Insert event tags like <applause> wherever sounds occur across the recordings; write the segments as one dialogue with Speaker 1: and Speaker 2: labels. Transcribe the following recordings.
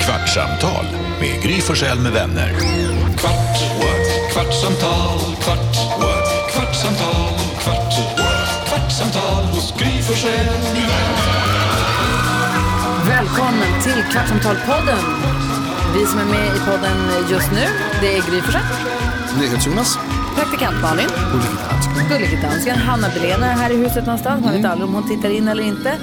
Speaker 1: Kvartsamtal med Gry Forssell med vänner.
Speaker 2: Kvart, what? kvartsamtal, kvart, what? kvartsamtal, kvart, what? kvartsamtal hos Gry Forssell med vänner.
Speaker 3: Välkommen till Kvartsamtalpodden. Vi som är med i podden just nu, det är Gry Forssell,
Speaker 4: NyhetsJonas.
Speaker 3: praktikant Malin, Gullige Dansken, Mm. Hanna Belén är här i huset någonstans. Man vet aldrig om hon tittar in eller inte.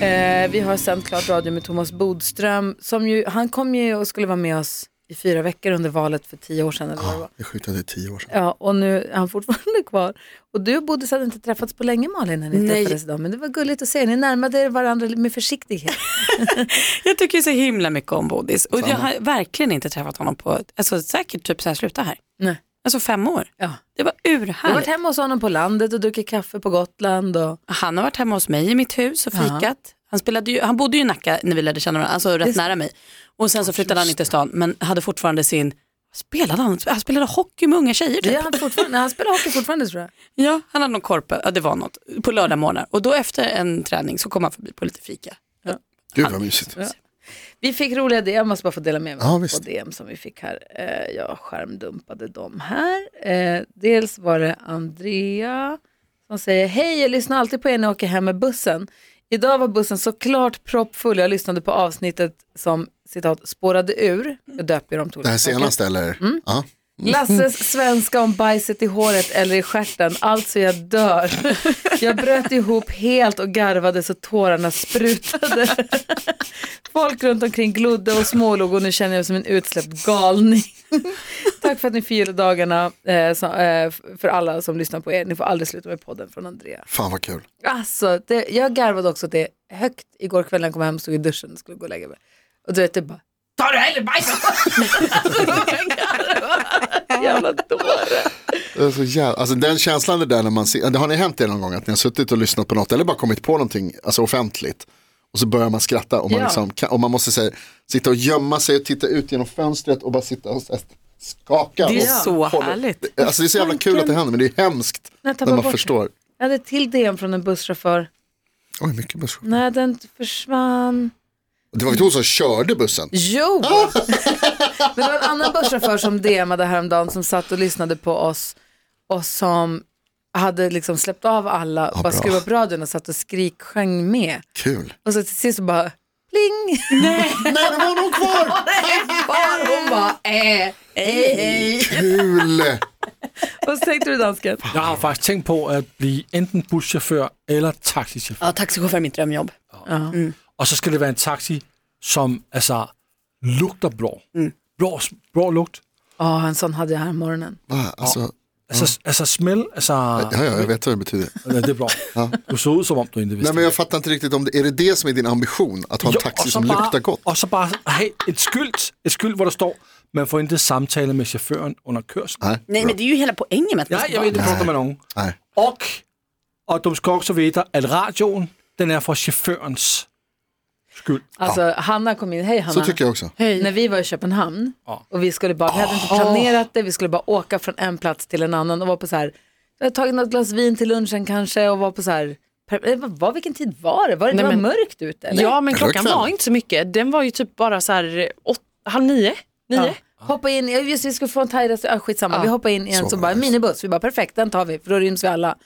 Speaker 3: Eh, vi har sänt klart radio med Thomas Bodström. Som ju, han kom ju och skulle vara med oss i fyra veckor under valet för tio år sedan. Eller vad det var.
Speaker 4: Det är sjukt att det är tio år sedan.
Speaker 3: Ja, och nu är han fortfarande kvar. Och du och Bodis hade inte träffats på länge Malin när ni
Speaker 5: Nej.
Speaker 3: träffades idag. Men det var gulligt att se. Ni närmade er varandra med försiktighet. <laughs>
Speaker 5: Jag tycker ju så himla mycket om Bodis och jag har verkligen inte träffat honom på, alltså säkert typ så här sluta här,
Speaker 3: Nej.
Speaker 5: alltså fem år.
Speaker 3: Ja.
Speaker 5: Det var
Speaker 3: Jag har varit
Speaker 5: urhärligt.
Speaker 3: hemma hos honom på landet och druckit kaffe på Gotland. Och...
Speaker 5: Han har varit hemma hos mig i mitt hus och fikat. Han, spelade ju, han bodde ju i Nacka när vi lärde känna varandra, alltså rätt nära mig. Och sen så flyttade han inte till stan men hade fortfarande sin, spelade han? Han spelade hockey med unga tjejer typ.
Speaker 3: Det är han, fortfarande, nej, han spelar hockey fortfarande tror jag.
Speaker 5: Ja, han hade någon korpa, ja, det var något, på lördag morgnar. Och då efter en träning så kom han förbi på lite fika.
Speaker 4: Gud vad mysigt.
Speaker 3: Vi fick roliga DM, jag måste bara få dela med mig
Speaker 4: Ja,
Speaker 3: på
Speaker 4: visst.
Speaker 3: DM som vi fick här. Eh, Jag skärmdumpade dem här. Eh, Dels var det Andrea som säger, hej jag lyssnar alltid på er när jag åker hem med bussen. Idag var bussen såklart proppfull, jag lyssnade på avsnittet som citat spårade ur, jag döper dem till
Speaker 4: Det här
Speaker 3: olika saker.
Speaker 4: senaste eller?
Speaker 5: Mm.
Speaker 4: Ja.
Speaker 3: Lasses svenska om bajset i håret eller i stjärten, alltså jag dör. Jag bröt ihop helt och garvade så tårarna sprutade. Folk runt omkring glodde och smålog och nu känner jag mig som en utsläppt galning. Tack för att ni förgyller dagarna eh, så, eh, för alla som lyssnar på er. Ni får aldrig sluta med podden från Andrea.
Speaker 4: Fan vad kul.
Speaker 3: Alltså, det, jag garvade också åt det högt igår kväll när jag kom hem och stod i duschen och skulle gå och lägga mig. Och du vet, det bara, ta det eller bajsa! alltså, jag garvade. <laughs> Jävla dåre.
Speaker 4: Det är så jävla... alltså, den känslan det där när man ser, har ni hänt det någon gång att ni har suttit och lyssnat på något eller bara kommit på någonting alltså offentligt och så börjar man skratta och man,
Speaker 3: Ja.
Speaker 4: liksom kan... och man måste så här, sitta och gömma sig och titta ut genom fönstret och bara sitta och så här, skaka.
Speaker 5: Det är
Speaker 4: och
Speaker 5: så
Speaker 4: hålla-
Speaker 5: härligt.
Speaker 4: Alltså, det är så jävla kul att det händer men det är hemskt
Speaker 3: Nej, tappa
Speaker 4: när man
Speaker 3: bort det.
Speaker 4: förstår.
Speaker 3: Jag hade ett till DM från en busschaufför.
Speaker 4: Oj, mycket buss.
Speaker 5: Mm.
Speaker 3: Nej, den försvann.
Speaker 4: Det var inte hon som körde bussen? <laughs>
Speaker 3: Jo! Men det var en annan busschaufför som DMade häromdagen som satt och lyssnade på oss och som hade liksom släppt av alla, bara
Speaker 4: Ja, bra.
Speaker 3: skruvat upp radion och satt och skriksjöng med.
Speaker 4: Kul.
Speaker 3: Och så till sist så bara pling! <laughs>
Speaker 4: Nej, det var någon kvar!
Speaker 3: Bara, hon bara eh, hej hej.
Speaker 4: Kul!
Speaker 3: Vad tänkte du dansken?
Speaker 6: Jeg har faktisk tænkt på at blive enten buschauffør eller taxichauffør.
Speaker 5: Ja, taxichaufför är mitt drömjobb.
Speaker 6: Og så skal det være en taxi, som altså lugter blå.
Speaker 4: Mm.
Speaker 6: Blå, blå lugt.
Speaker 3: Ja, en sån hade jag här morgonen.
Speaker 4: Va, Alltså,
Speaker 6: Altså, altså smell, altså...
Speaker 4: ja, ja, jag vet vad det betyder.
Speaker 6: Nej, det er blå. Du så ud, som om du ikke vidste
Speaker 4: Nej men jeg fattar inte riktigt om det, är det det som är din ambition? Att ha en
Speaker 6: Jo,
Speaker 4: taxi
Speaker 6: og så
Speaker 4: som
Speaker 6: bare-
Speaker 4: luktar gott?
Speaker 6: Og så bare have et skylt, et skylt, hvor der står, man får inte samtale med chaufføren under kørslen.
Speaker 4: Nej,
Speaker 5: Nej men det är ju hela poängen med att man
Speaker 6: Nej,
Speaker 5: ska
Speaker 6: jeg ved,
Speaker 5: vara-
Speaker 6: det frugter man nogen.
Speaker 4: nej.
Speaker 6: Og, og de skal også vide, at radioen, den er for chaufførens skyld.
Speaker 3: Alltså Hanna kom in, hej Hanna.
Speaker 4: Så tycker jag också.
Speaker 3: När vi var i Köpenhamn
Speaker 6: Ja.
Speaker 3: och vi skulle bara, vi hade inte planerat det, vi skulle bara åka från en plats till en annan och var på så här, vi hade tagit något glas vin till lunchen kanske och var på så här, per- eh, vad, vilken tid var det? Var det, det var
Speaker 7: men-
Speaker 3: mörkt ute eller?
Speaker 7: Ja, men
Speaker 4: Det var
Speaker 7: klockan
Speaker 4: kväll.
Speaker 7: var inte så mycket. Den var ju typ bara så här eh, åt, halv nio. nio.
Speaker 3: Ja. Hoppa in, ja, just det, vi skulle få en thai-restaurang, ah, skitsamma, vi hoppar in i en
Speaker 4: Så
Speaker 3: som bara,
Speaker 4: nice.
Speaker 3: minibuss, vi bara perfekt, den tar vi för då ryms vi alla.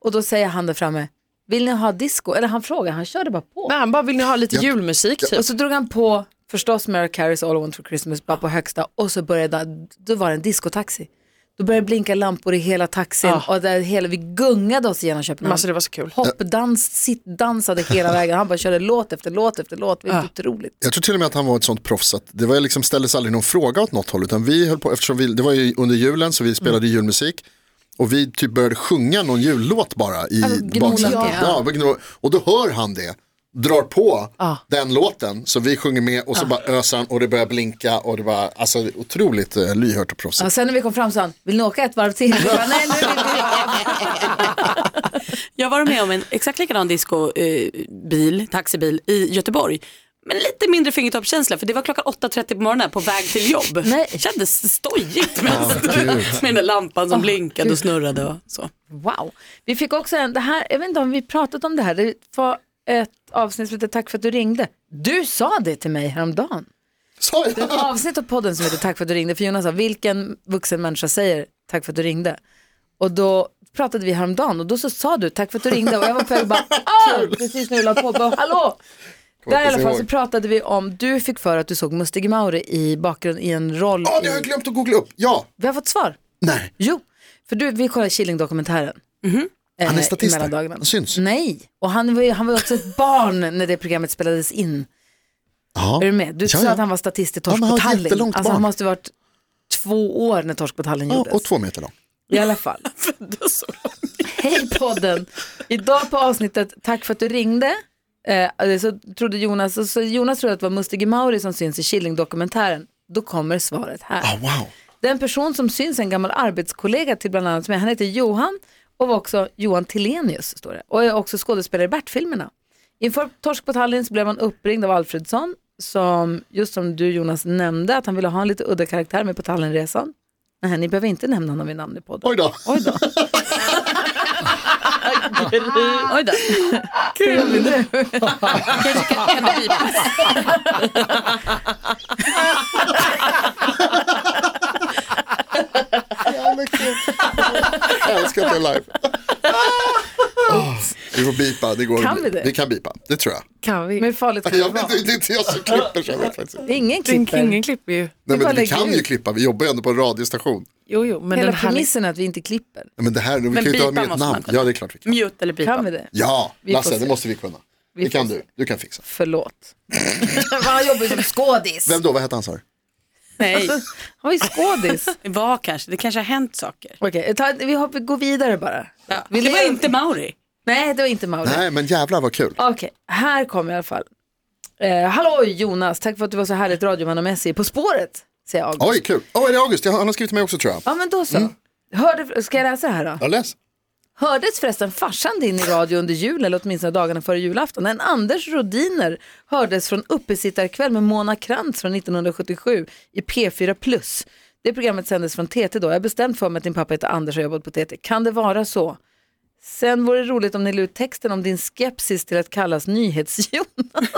Speaker 3: Och då säger han där framme, vill ni ha disco? Eller han frågar, han körde bara på.
Speaker 7: Nej, han bara, vill ni ha lite
Speaker 4: Ja.
Speaker 7: julmusik typ?
Speaker 3: Och så drog han på förstås Mariah Careys All I Want For Christmas bara på högsta och så började då var det en discotaxi. Då började det blinka lampor i hela taxin
Speaker 7: Ah.
Speaker 3: och där hela, vi gungade oss genom
Speaker 7: Men
Speaker 3: Köpenhamn.
Speaker 7: alltså det var så kul.
Speaker 3: Hoppdans, sittdansade
Speaker 7: <laughs>
Speaker 3: hela vägen. Han bara körde låt efter låt efter låt.
Speaker 7: Ah.
Speaker 3: Det var helt otroligt.
Speaker 4: Jag tror till och med att han var ett sånt proffs att det var liksom ställdes aldrig någon fråga åt något håll utan vi höll på, eftersom vi, det var ju under julen
Speaker 3: Mm.
Speaker 4: så vi spelade julmusik och vi typ började sjunga någon jullåt bara i
Speaker 3: Alltså, gnola,
Speaker 4: baksätet.
Speaker 3: ja.
Speaker 4: Ja, vi gno- och då hör han det, drar på den låten så vi sjunger med och så bara öser han och det börjar blinka och det var alltså otroligt eh, lyhört och proffsigt.
Speaker 3: Och sen när vi kom fram sa han, vill ni åka ett varv till? Vi bara, Nej, nu vill vi
Speaker 5: Jag var med om en exakt likadan discobil, taxibil i Göteborg. Men lite mindre fingertoppskänsla för det var klockan 8.30 på morgonen på väg till jobb.
Speaker 3: Nej.
Speaker 5: Kändes stojigt mest.
Speaker 4: gud.
Speaker 5: <laughs> med den där lampan som blinkade och snurrade och så.
Speaker 3: Wow. Vi <laughs> fick också en, det här, jag vet inte om vi pratat om det här, det var ett avsnitt som hette Tack för att du ringde. Du sa det till mig häromdagen.
Speaker 4: Sa jag?
Speaker 3: ett avsnitt av podden som heter Tack för att du ringde. För Jonas sa, vilken vuxen människa säger tack för att du ringde? Och då pratade vi häromdagen och då så sa du tack för att du ringde och jag var på väg och bara,
Speaker 4: <laughs>
Speaker 3: ah, precis när du la på, bara, hallå! Där i alla fall så
Speaker 4: ihåg.
Speaker 3: pratade vi om, du fick för att du såg Mustig Mauri i bakgrund i en roll.
Speaker 4: Ja, det har
Speaker 3: i...
Speaker 4: jag glömt att googla upp. Ja,
Speaker 3: Vi har fått svar.
Speaker 4: nej.
Speaker 3: Jo, för du, vi kollade Killing-dokumentären. Eh,
Speaker 4: Mhm. Han är
Speaker 3: i
Speaker 4: statist där.
Speaker 3: mellandagarna.
Speaker 4: Han syns.
Speaker 3: Nej, och han var, ju- han var ju också ett barn när det programmet spelades in.
Speaker 4: Ja.
Speaker 3: Är du med? Du
Speaker 4: Ja,
Speaker 3: sa
Speaker 4: ja.
Speaker 3: att han var statist i Torsk
Speaker 4: Ja, men han
Speaker 3: på
Speaker 4: var ett
Speaker 3: Tallinn.
Speaker 4: jättelångt
Speaker 3: Alltså han
Speaker 4: barn.
Speaker 3: måste ha varit två år när Torsk på Tallinn
Speaker 4: Ja,
Speaker 3: gjordes.
Speaker 4: och två meter lång.
Speaker 3: I alla
Speaker 4: <laughs>
Speaker 3: fall. Hej podden! Idag på avsnittet Tack för att du ringde. Eh, så trodde Jonas, så Jonas trodde att det var Mustige Mauri som syns i Killing-dokumentären. Då kommer svaret här.
Speaker 4: Ah, wow.
Speaker 3: Den person som syns är en gammal arbetskollega till bland annat mig. Han heter Johan och var också Johan Telenius står det. Och är också skådespelare i Bert-filmerna. Inför Torsk på Tallinn så blev han uppringd av Alfredsson som, just som du Jonas nämnde, att han ville ha en lite udda karaktär med på Tallinnresan. Nej, ni behöver inte nämna honom vid namn i podden.
Speaker 4: Oj då.
Speaker 3: Oj då.
Speaker 5: Oj då.
Speaker 3: Kul nu.
Speaker 5: Kanske kan, kan det bli-
Speaker 4: Ja, men kul. Jag <laughs> älskar att det är live. Åh, vi får bipa, det går.
Speaker 3: Kan vi det?
Speaker 4: Vi kan bipa, det tror jag.
Speaker 7: Ah. Kan vi?
Speaker 3: Men hur farligt kan det
Speaker 4: jag
Speaker 3: vara?
Speaker 4: vet, det är inte jag som klipper så jag vet faktiskt inte.
Speaker 3: Ingen
Speaker 7: Klipper.
Speaker 3: klipper.
Speaker 7: Ingen klipper ju.
Speaker 4: Nej,
Speaker 3: bara
Speaker 4: men vi
Speaker 3: lägger
Speaker 4: kan ju
Speaker 3: ut.
Speaker 4: klippa, vi jobbar ju ändå på en radiostation.
Speaker 7: Jo, jo, men
Speaker 3: Hela
Speaker 7: den här...
Speaker 3: premissen är att vi inte klipper.
Speaker 4: Nej, men det här, vi kan ju inte
Speaker 5: bipa
Speaker 4: ha med ett
Speaker 5: måste man
Speaker 4: namn.
Speaker 5: kunna.
Speaker 4: Ja, det är klart vi kan.
Speaker 5: Mute eller
Speaker 3: Kan vi
Speaker 5: bipa.
Speaker 3: det?
Speaker 4: Ja,
Speaker 3: Vi får
Speaker 4: Lasse,
Speaker 3: se.
Speaker 4: det måste vi kunna.
Speaker 3: Vi
Speaker 4: Det kan
Speaker 3: får
Speaker 4: du, du kan fixa.
Speaker 3: Förlåt. <laughs> Han jobbar ju som skådis.
Speaker 4: Vem då, vad hette han sa du?
Speaker 5: Nej,
Speaker 3: Alltså. Han var ju <laughs> skådis.
Speaker 5: det var kanske, det kanske har hänt saker.
Speaker 3: Okej, ta, vi, hopp, vi går vidare bara.
Speaker 5: Ja.
Speaker 3: Vi
Speaker 5: Det var
Speaker 3: lever-
Speaker 5: inte Mauri.
Speaker 3: Nej, det var inte Mauri.
Speaker 4: Nej, men jävlar vad kul.
Speaker 3: Okej, här kommer i alla fall. Eh, hallå Jonas, tack för att du var så härligt radiomannamässig. På spåret, säger jag.
Speaker 4: Oj, kul. Åh, är det August? Jag- Han har skrivit till mig också tror jag.
Speaker 3: Ja, men då så. Hörde, ska jag läsa det här då?
Speaker 4: Ja, läs.
Speaker 3: Hördes förresten farsan din i radio under jul eller åtminstone dagarna före julafton? En Anders Rodiner hördes från uppesittarkväll med Mona Krantz från 1977 i P4 Plus. Det programmet sändes från TT då. Jag har bestämt för mig att din pappa heter Anders och har jobbat på TT. Kan det vara så? Sen vore det roligt om ni la ut texten om din skepsis till att kallas nyhets-Jonas.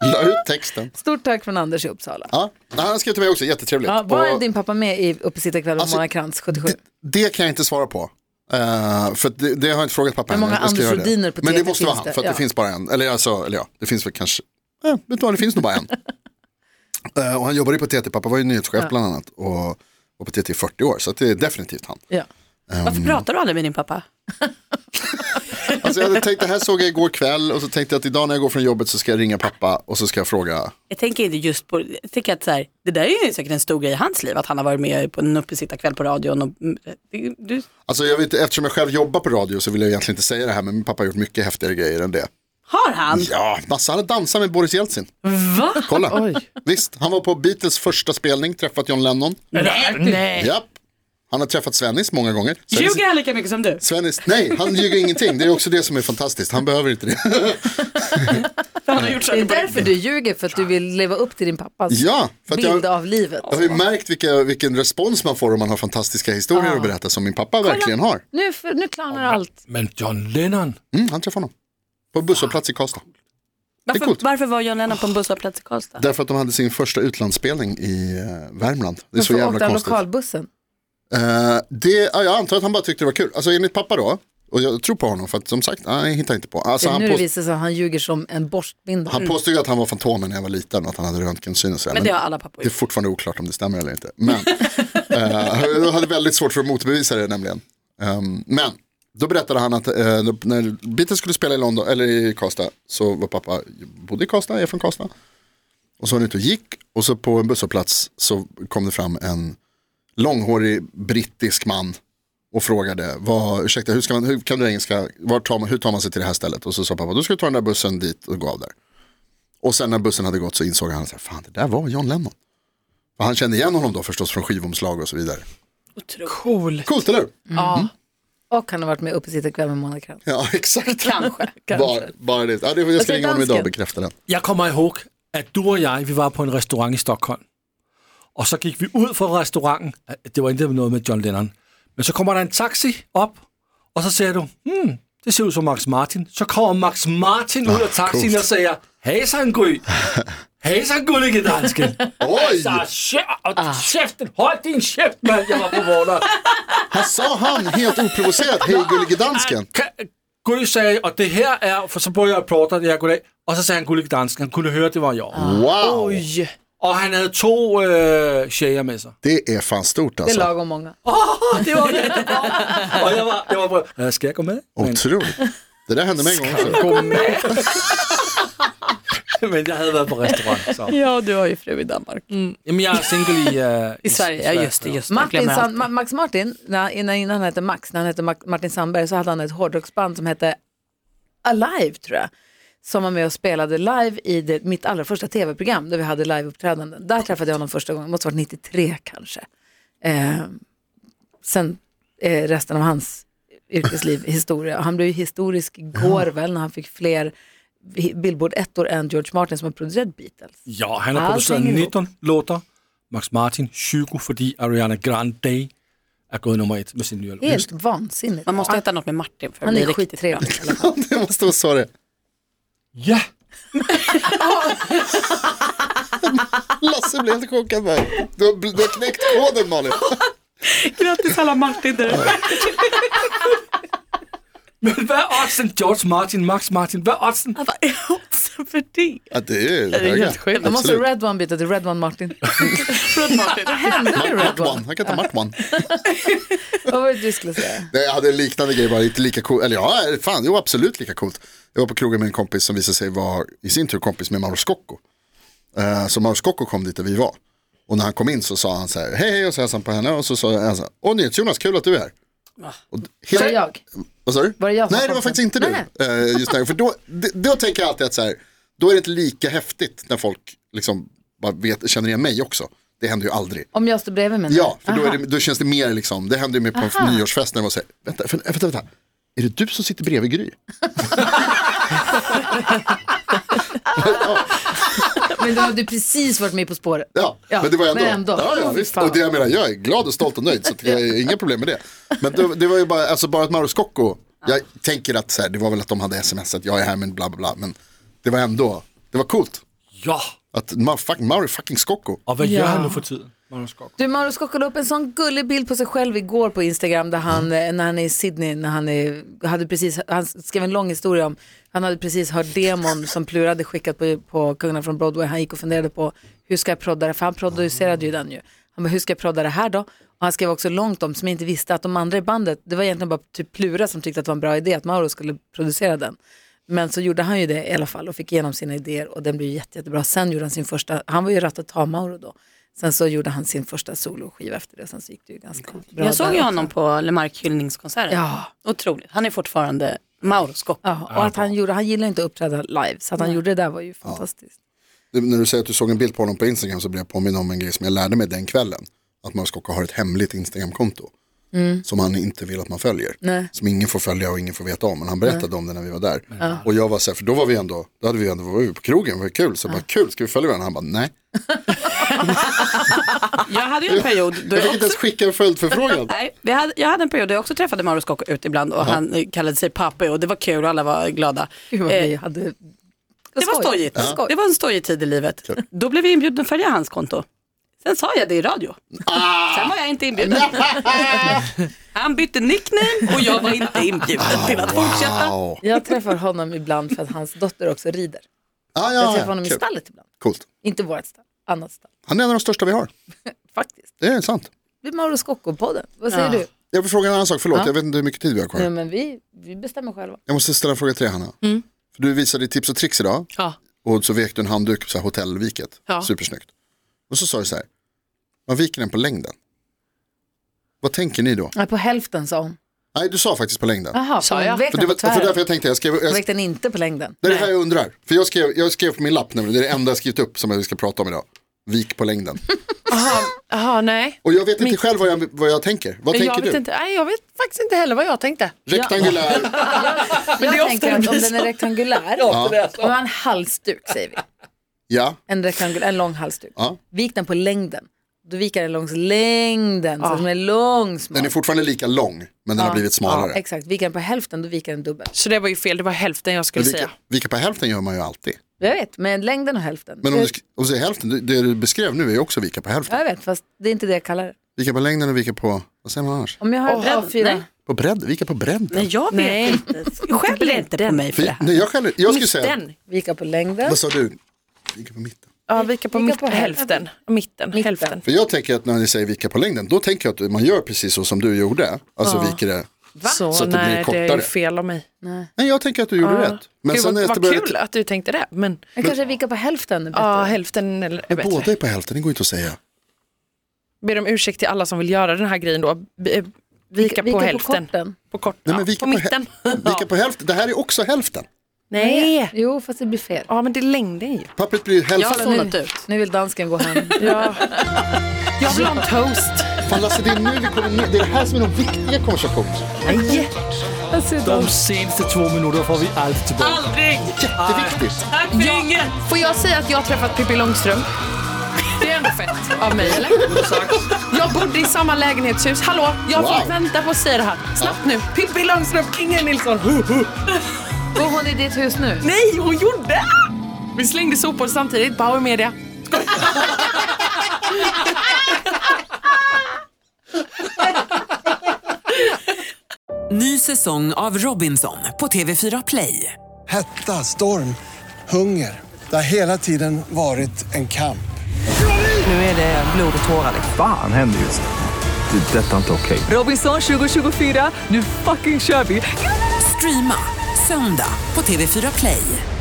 Speaker 4: La ut texten.
Speaker 3: Stort tack från Anders i Uppsala.
Speaker 4: Ja, Nej, han har skrivit till mig också, jättetrevligt.
Speaker 3: Ja, var är
Speaker 4: Och
Speaker 3: din pappa med i Uppesittarkväll med
Speaker 4: Alltså,
Speaker 3: Mona Krantz 77?
Speaker 4: det, det kan jag inte svara på. Eh, för det, det har jag inte frågat pappa
Speaker 3: Hur många
Speaker 4: än. Jag ska
Speaker 3: Anders
Speaker 4: göra det.
Speaker 3: Rhodiner på
Speaker 4: Men det
Speaker 3: TT
Speaker 4: måste vara
Speaker 3: finns
Speaker 4: han,
Speaker 3: det?
Speaker 4: för att
Speaker 3: Ja.
Speaker 4: det finns bara en. Eller, alltså, eller ja, det finns väl kanske, eh, vet du vad, det finns
Speaker 3: <laughs>
Speaker 4: nog bara en. Eh, och han jobbade ju på TT, pappa var ju nyhetschef bland annat. Och var på TT i 40 år, så att det är definitivt han.
Speaker 3: Ja.
Speaker 4: mm.
Speaker 5: Varför pratar du aldrig med din pappa?
Speaker 4: Alltså jag hade tänkt, det här såg jag igår kväll och så tänkte jag att idag när jag går från jobbet så ska jag ringa pappa och så ska jag fråga.
Speaker 5: Jag tänker inte just på, jag tänker att så här, det där är ju säkert en stor grej i hans liv, att han har varit med på en uppesittarkväll på radion. Och, mm, det- du,
Speaker 4: Alltså jag vet, inte, eftersom jag själv jobbar på radio så vill jag egentligen inte säga det här men min pappa har gjort mycket häftigare grejer än det.
Speaker 5: har han?
Speaker 4: Ja, Lasse hade dansat med Boris Jeltsin. Va? Kolla. Visst, han var på Beatles första spelning, träffat John Lennon.
Speaker 5: Nej. Nej.
Speaker 4: Japp. Han har träffat Svennis många gånger. Svennis,
Speaker 5: Ljuger han lika mycket som du?
Speaker 4: Svennis, nej, han ljuger ingenting. Det är också det som är fantastiskt. Han behöver inte det. <laughs>
Speaker 5: Han har gjort
Speaker 3: Det är
Speaker 5: saker på
Speaker 3: därför du ljuger, för att du vill leva upp till din pappas
Speaker 4: Ja, för att
Speaker 3: bild
Speaker 4: jag,
Speaker 3: av livet.
Speaker 4: jag har ju märkt vilka, vilken respons man får om man har fantastiska historier att berätta som min pappa verkligen har.
Speaker 3: Nu, nu klarnar allt.
Speaker 6: Men John Lennon,
Speaker 4: Mm, han träffade honom. På en busshållplats i Karlstad. är
Speaker 5: varför,
Speaker 4: coolt.
Speaker 5: varför var John Lennon på en busshållplats i Karlstad?
Speaker 4: Därför att de hade sin första utlandsspelning i eh, Värmland. Det är så
Speaker 3: Varför
Speaker 4: jävla
Speaker 3: åkte han
Speaker 4: konstigt.
Speaker 3: lokalbussen?
Speaker 4: Eh, det, ja, jag antar att han bara tyckte det var kul. Alltså enligt pappa då, och jag tror på honom för att som sagt, nej, jag hittar inte på. Alltså,
Speaker 3: Det är
Speaker 4: han,
Speaker 3: nu Mm. det
Speaker 4: påst-
Speaker 3: visar sig att han ljuger som en borstbindel.
Speaker 4: han påstod ju att han var Fantomen när jag var liten och att han hade röntgensyn och sådär.
Speaker 5: Men det har
Speaker 4: Men
Speaker 5: alla
Speaker 4: det
Speaker 5: pappor
Speaker 4: är
Speaker 5: gjort.
Speaker 4: fortfarande oklart om det stämmer eller inte. Men eh, jag hade väldigt svårt för att motbevisa det nämligen. Ehm, men då berättade han att eh, då- när Beatles skulle spela i London, eller i Karlstad, så var pappa, bodde i Karlstad, är från Karlstad. Och så var han ute och gick och så på en busshållplats så kom det fram en långhårig brittisk man och frågade, vad, ursäkta, hur, ska man, hur kan du engelska, var tar man, hur tar man sig till det här stället? Och så sa pappa, då ska du ta den där bussen dit och gå av där. Och sen när bussen hade gått så insåg han, så här, fan det där var John Lennon. Och han kände igen honom då förstås från skivomslag och så vidare.
Speaker 7: Cool.
Speaker 4: Coolt eller hur?
Speaker 7: Ja.
Speaker 3: Och han har varit med uppesittarkväll med Mona Krantz.
Speaker 4: Ja <laughs> exakt.
Speaker 5: Kanske.
Speaker 4: Bara, bara det. Ja, det jag
Speaker 3: Och så
Speaker 4: ska ringa honom idag
Speaker 3: dansken.
Speaker 4: och bekräfta det.
Speaker 6: Jeg kommer ihåg, at du og jeg, vi var på en restaurant i Stockholm. Og så gik vi ud fra restauranten. Det var ikke noget med John Lennon. Men så kommer der en taxi op, og så siger du, hmm, det ser ud som Max Martin. Så kommer Max Martin ud af taxien
Speaker 4: cool.
Speaker 6: og siger, hejsan Gry. Hejsan gullige dansken!
Speaker 4: Oj!
Speaker 6: Så käften, käften, håll din käft man! Jag var förvånad.
Speaker 4: Här sa han helt oprovocerat, hej gullige dansken.
Speaker 6: Ka- Gry sagde, och det här är, för så började jag prata, det här goddag, och så sa han gullige dansken, han kunde höra det var jag.
Speaker 4: Wow,
Speaker 6: Och han hade två äh, tjejer med <laughs> sig.
Speaker 4: det är fan stort
Speaker 3: Det är
Speaker 4: alltså.
Speaker 3: lagom många.
Speaker 6: Det var jättebra! och jag var, jag var bara, "Äh, ska jag gå med? Men,
Speaker 4: Otroligt. Det där hände mig en gång också. <laughs>
Speaker 6: gå med? <laughs> men jag hade varit på restaurang. Så.
Speaker 5: Ja, du har ju fru i Danmark.
Speaker 6: Jamen, jag är singel i, eh,
Speaker 5: I Sverige, ja just det. Just det. Jag
Speaker 3: Martin
Speaker 5: glömmer
Speaker 3: Sand, Ma- Max Martin, när- innan, innan han hette Max, när han hette Ma- Martin Sandberg så hade han ett hårdrocksband som hette Alive tror jag. Som var med och spelade live i det, mitt allra första tv-program där vi hade liveuppträdanden. Där träffade jag honom första gången, det måste ha varit 93 kanske. Eh, sen eh, resten av hans yrkesliv historia. Han blev ju historisk igår väl när han fick fler Billboard-ettor än George Martin som har producerat Beatles.
Speaker 6: Ja, han har
Speaker 3: Alting
Speaker 6: produceret
Speaker 3: er lort.
Speaker 6: 19 låter. Max Martin 20, fordi Ariana Grande er gået nummer et med sin nye låt.
Speaker 3: Helt vansinnigt.
Speaker 5: Man måste heta något med Martin för att
Speaker 3: Han
Speaker 5: bli
Speaker 3: är
Speaker 5: riktigt bra.
Speaker 3: skittrevlig.
Speaker 4: Det måste vara så det
Speaker 6: Ja,
Speaker 4: Lasse blev helt chockad där. Du har, du har knäckt koden Malin.
Speaker 5: Grattis alla Martin där.
Speaker 6: men hvad er oddsen George Martin, Max Martin, hvad er oddsen?
Speaker 5: Vad är oddsen för det?
Speaker 4: Ja, det är höga.
Speaker 7: helt sjukt.
Speaker 3: Då måste
Speaker 4: Absolut.
Speaker 3: Red One byta till Red One
Speaker 4: <laughs>
Speaker 3: Martin. Vad hände med Red
Speaker 4: Mart
Speaker 3: One?
Speaker 4: One, han kan ta Mart One.
Speaker 3: Vad var det du skulle säga?
Speaker 4: Nej, Jag hade en liknande grej, bara inte lika coolt. Eller ja, fan, jo absolut lika coolt. Jag var på krogen med en kompis som visade sig vara i sin tur kompis med Mauro Scocco. Eh, så Mauro Scocco kom dit där vi var. Och när han kom in så sa han så här, hej hej, och så hälsade han på henne och så sa han så här, åh NyhetsJonas, kul att du är här. Och d-
Speaker 3: Var det
Speaker 4: hela-
Speaker 3: jag?
Speaker 4: Vad sa du?
Speaker 3: Var det jag som
Speaker 4: Nej, det
Speaker 3: kom sen?
Speaker 4: var faktiskt inte du.
Speaker 3: Nej,
Speaker 4: Eh, just där. För då, d- då tänker jag alltid att så här, då är det inte lika häftigt när folk liksom bara vet, känner igen mig också. Det händer ju aldrig.
Speaker 3: Om jag står bredvid mig? nu?
Speaker 4: Ja, för då, är
Speaker 3: Aha.
Speaker 4: det, då känns det mer liksom, det händer ju mer på en
Speaker 3: Aha.
Speaker 4: nyårsfest när man säger, vänta, vänta, vänta, vänta, är det du som sitter bredvid Gry?
Speaker 3: Men då har du precis varit med På spåret.
Speaker 4: Ja,
Speaker 3: Ja,
Speaker 4: men det var ändå.
Speaker 3: men ändå.
Speaker 4: Ja, ja,
Speaker 3: Fy
Speaker 4: visst.
Speaker 3: fan.
Speaker 4: Och det jag menar, jag är glad och stolt och nöjd, så att jag har inga problem med det. Men det, det var ju bara, alltså bara att Mauro Scocco, jag tänker att så här, det var väl att de hade smsat, jag är här men bla bla bla, men det var ändå, det var coolt.
Speaker 6: Ja,
Speaker 4: Att Ma- fuck, Mauro fucking Scocco.
Speaker 6: og hvad ja. gør
Speaker 3: Ja.
Speaker 6: han nu for tiden? Magnus Skok.
Speaker 3: Du, Mauro Scocco la upp en sån gullig bild på sig själv igår på Instagram där han, eh, när han är i Sydney, när han, är, hade precis, han skrev en lång historia om, han hade precis hört demon som Plura hade skickat på, på Kungarna från Broadway. Han gick och funderade på hur ska jag prodda det, för han producerade ju den ju. Han bara, hur ska jag prodda det här då? Och han skrev också långt om, som jag inte visste, att de andra i bandet, det var egentligen bara typ Plura som tyckte att det var en bra idé att Mauro skulle producera den. Men så gjorde han ju det i alla fall och fick igenom sina idéer och den blev jätte, jättebra. Sen gjorde han sin första, han var ju Ratatamauro då. Sen så gjorde han sin första soloskiva efter det, sen så gick det ju ganska bra.
Speaker 5: Jag såg
Speaker 3: där
Speaker 5: ju
Speaker 3: också.
Speaker 5: honom på Lemark hyllningskonserten.
Speaker 3: Ja,
Speaker 5: Otroligt. Han är fortfarande Mauro Scocco.
Speaker 3: ja, och att han gjorde, han gillar inte att uppträda live, så att han gjorde det där var ju fantastiskt.
Speaker 4: Du, När du säger att du såg en bild på honom på Instagram så blev jag påminn om en grej som jag lärde mig den kvällen. Att Mauro Scocco har ett hemligt Instagramkonto. Som han inte vill att man följer.
Speaker 3: Mm. Nej.
Speaker 4: Som ingen får följa och ingen får veta om. Men han berättade om det när vi var där. Och jag var så här, för då var vi ändå, då hade vi ändå var vi på krogen, var kul. Så jag bara, kul, ska vi följa varandra? Han bara, nej.
Speaker 5: Jag hade ju en period då
Speaker 4: Jag fick
Speaker 5: jag
Speaker 4: inte
Speaker 5: också...
Speaker 4: ens skicka
Speaker 3: <laughs>
Speaker 4: en följdförfrågan.
Speaker 5: Nej, vi hade, jag hade en period då jag också träffade Mauro Scocco ut ibland och han eh, kallade sig pappa och det var kul och alla var glada.
Speaker 3: Gud vad
Speaker 5: Eh,
Speaker 3: vi hade... Det
Speaker 5: Det var stojigt.
Speaker 3: Skoj.
Speaker 5: Det var en stojig tid i livet. Då blev vi inbjudna att följa hans konto. Sen sa jag det i radio. Sen var jag inte inbjuden. Han bytte nickname och jag var inte inbjuden till att fortsätta.
Speaker 4: Ah, Wow.
Speaker 3: Jag träffar honom ibland för att hans dotter också rider.
Speaker 4: Ah,
Speaker 3: Jag
Speaker 4: ja,
Speaker 3: träffar
Speaker 4: ja,
Speaker 3: honom i
Speaker 4: kul.
Speaker 3: stallet ibland.
Speaker 4: Coolt.
Speaker 3: Inte vårt stall, annat stall.
Speaker 4: Han är en av de största vi har.
Speaker 3: Faktiskt.
Speaker 4: Det är sant.
Speaker 3: Det blir Mauro Scocco-podden. Vad säger du?
Speaker 4: Jag vill fråga en annan sak, förlåt,
Speaker 3: Ja.
Speaker 4: jag vet inte hur mycket tid vi har kvar.
Speaker 3: Nej, men vi, vi bestämmer själva.
Speaker 4: Jag måste ställa en fråga till dig Hanna. För du visade tips och tricks idag.
Speaker 7: Mm. Ja.
Speaker 4: Och så vek du en handduk på så här hotellviket.
Speaker 7: Ja.
Speaker 4: Supersnyggt. Och så sa du så här. Man viker den på längden. Vad tänker ni då?
Speaker 3: Nej, på hälften sa hon.
Speaker 4: Nej, du sa faktiskt på längden.
Speaker 3: Jaha,
Speaker 5: Sa
Speaker 3: hon
Speaker 5: jag?
Speaker 3: vek
Speaker 4: För det
Speaker 3: den
Speaker 4: var
Speaker 3: på
Speaker 4: för därför
Speaker 3: tvären.
Speaker 4: jag tänkte, jag skrev, jag,
Speaker 3: Hon
Speaker 4: det
Speaker 3: vek den inte på längden.
Speaker 4: är det här jag undrar. För jag skrev, jag skrev på min lapp nämligen, det är det enda jag skrivit upp som vi ska prata om idag. Vik på
Speaker 7: <laughs>
Speaker 4: längden.
Speaker 7: Jaha, nej.
Speaker 4: Och jag vet inte själv vad jag, vad jag tänker. Vad
Speaker 7: Jag
Speaker 4: tänker
Speaker 7: vet,
Speaker 4: du?
Speaker 7: inte, nej, jag vet faktiskt inte heller vad jag tänkte. <laughs>
Speaker 4: Rektangulär,
Speaker 3: jag tänker att om den är rektangulär,
Speaker 6: Ja. det er så.
Speaker 3: om man har en halsduk säger vi,
Speaker 4: ja.
Speaker 3: en, rektangul- en lång halsduk,
Speaker 4: Ja.
Speaker 3: vik den på längden. Du viker den långs längden, så att den är lång smal.
Speaker 4: Den är fortfarande lika lång, men den har blivit smalare.
Speaker 3: Exakt, viker den på hälften, då viker den dubbelt.
Speaker 7: Så det var ju fel, det var hälften jag skulle
Speaker 4: Vika,
Speaker 7: säga.
Speaker 4: vika på hälften gör man ju alltid.
Speaker 3: Jag vet, men längden och hälften.
Speaker 4: Men om du,
Speaker 7: Eh,
Speaker 3: jag,
Speaker 4: sk- och så är hälften, det- det du beskrev nu är ju också vika på hälften.
Speaker 3: jag vet, fast det är inte det jag kallar det.
Speaker 4: Vika på längden och vika på, vad säger man annars?
Speaker 3: Om jag har
Speaker 5: Åh,
Speaker 3: ett A4.
Speaker 5: nej.
Speaker 4: På bredd, vika på
Speaker 5: Men
Speaker 4: bredden.
Speaker 5: jag vet
Speaker 7: Nej.
Speaker 5: inte. Skäller inte den mig för det
Speaker 4: För,
Speaker 5: här?
Speaker 4: nej, jag, själv, jag skulle säga,
Speaker 7: Mitten.
Speaker 3: Vika på längden.
Speaker 4: vad sa du? Vika på mitten.
Speaker 7: Ja, vika på,
Speaker 3: Vika
Speaker 7: mitt,
Speaker 3: på hälften.
Speaker 7: hälften. Mitten, hälften.
Speaker 4: För jag tänker att när ni säger vika på längden, då tänker jag att man gör precis så som du gjorde. Alltså viker det.
Speaker 7: Så,
Speaker 4: Så att det blir
Speaker 7: nej, det är
Speaker 4: kortare.
Speaker 7: ju fel av mig.
Speaker 4: Nej, jag tänker att du gjorde rätt. Men
Speaker 7: Gud,
Speaker 4: sen
Speaker 7: vad,
Speaker 4: efter
Speaker 7: vad kul att du tänkte det. Men
Speaker 3: Jag kanske vika på hälften är bättre.
Speaker 7: ja, hälften eller, är
Speaker 4: Men båda
Speaker 7: bättre.
Speaker 4: är på hälften, det går inte att säga.
Speaker 7: Ber om ursäkt till alla som vill göra den här grejen då. B- eh,
Speaker 3: vika
Speaker 7: Vika, på
Speaker 3: på
Speaker 7: hälften.
Speaker 3: korten.
Speaker 7: På, kort,
Speaker 4: Nej, men
Speaker 7: ja,
Speaker 4: vika
Speaker 7: på
Speaker 4: på hä-
Speaker 7: mitten.
Speaker 4: <laughs> Vika
Speaker 7: ja.
Speaker 4: på hälften, det här är också hälften.
Speaker 7: Nej.
Speaker 3: Jo, fast det blir fel.
Speaker 7: Ja, men det är längden ju.
Speaker 4: Pappret blir
Speaker 5: Jag har
Speaker 4: hälften.
Speaker 5: zonat ut.
Speaker 3: Nu vill dansken gå hem.
Speaker 7: Ja. Jag vill ha en toast.
Speaker 4: Fan Lasse, det är nu vi kommer ner. Det är det här som är de viktiga konversationerna.
Speaker 7: Nej.
Speaker 6: De senaste två minuter får vi allt tillbaka.
Speaker 5: Aldrig!
Speaker 4: Jätteviktigt.
Speaker 5: Tack för inget!
Speaker 7: Får jag säga att jag har träffat Pippi Långström? Det är ändå fett av mig, eller? Jag bodde i samma lägenhetshus. Hallå, jag har fått
Speaker 4: Wow.
Speaker 7: vänta på att säga det här. Snabbt nu. Pippi Långström, Ingrid Nilsson.
Speaker 3: Går hon i ditt hus nu?
Speaker 7: Nej, hon gjorde! Vi slängde sopor samtidigt. Bauer Media.
Speaker 8: Ny säsong av Robinson på TV4 Play.
Speaker 9: Hetta, storm, hunger. Det har hela tiden varit en kamp.
Speaker 8: Nu är det blod och tårar.
Speaker 10: Fan händer just nu. Det. är Detta är inte okej.
Speaker 8: Robinson 2024, nu fucking kör vi! Streama söndag på TV4 Play.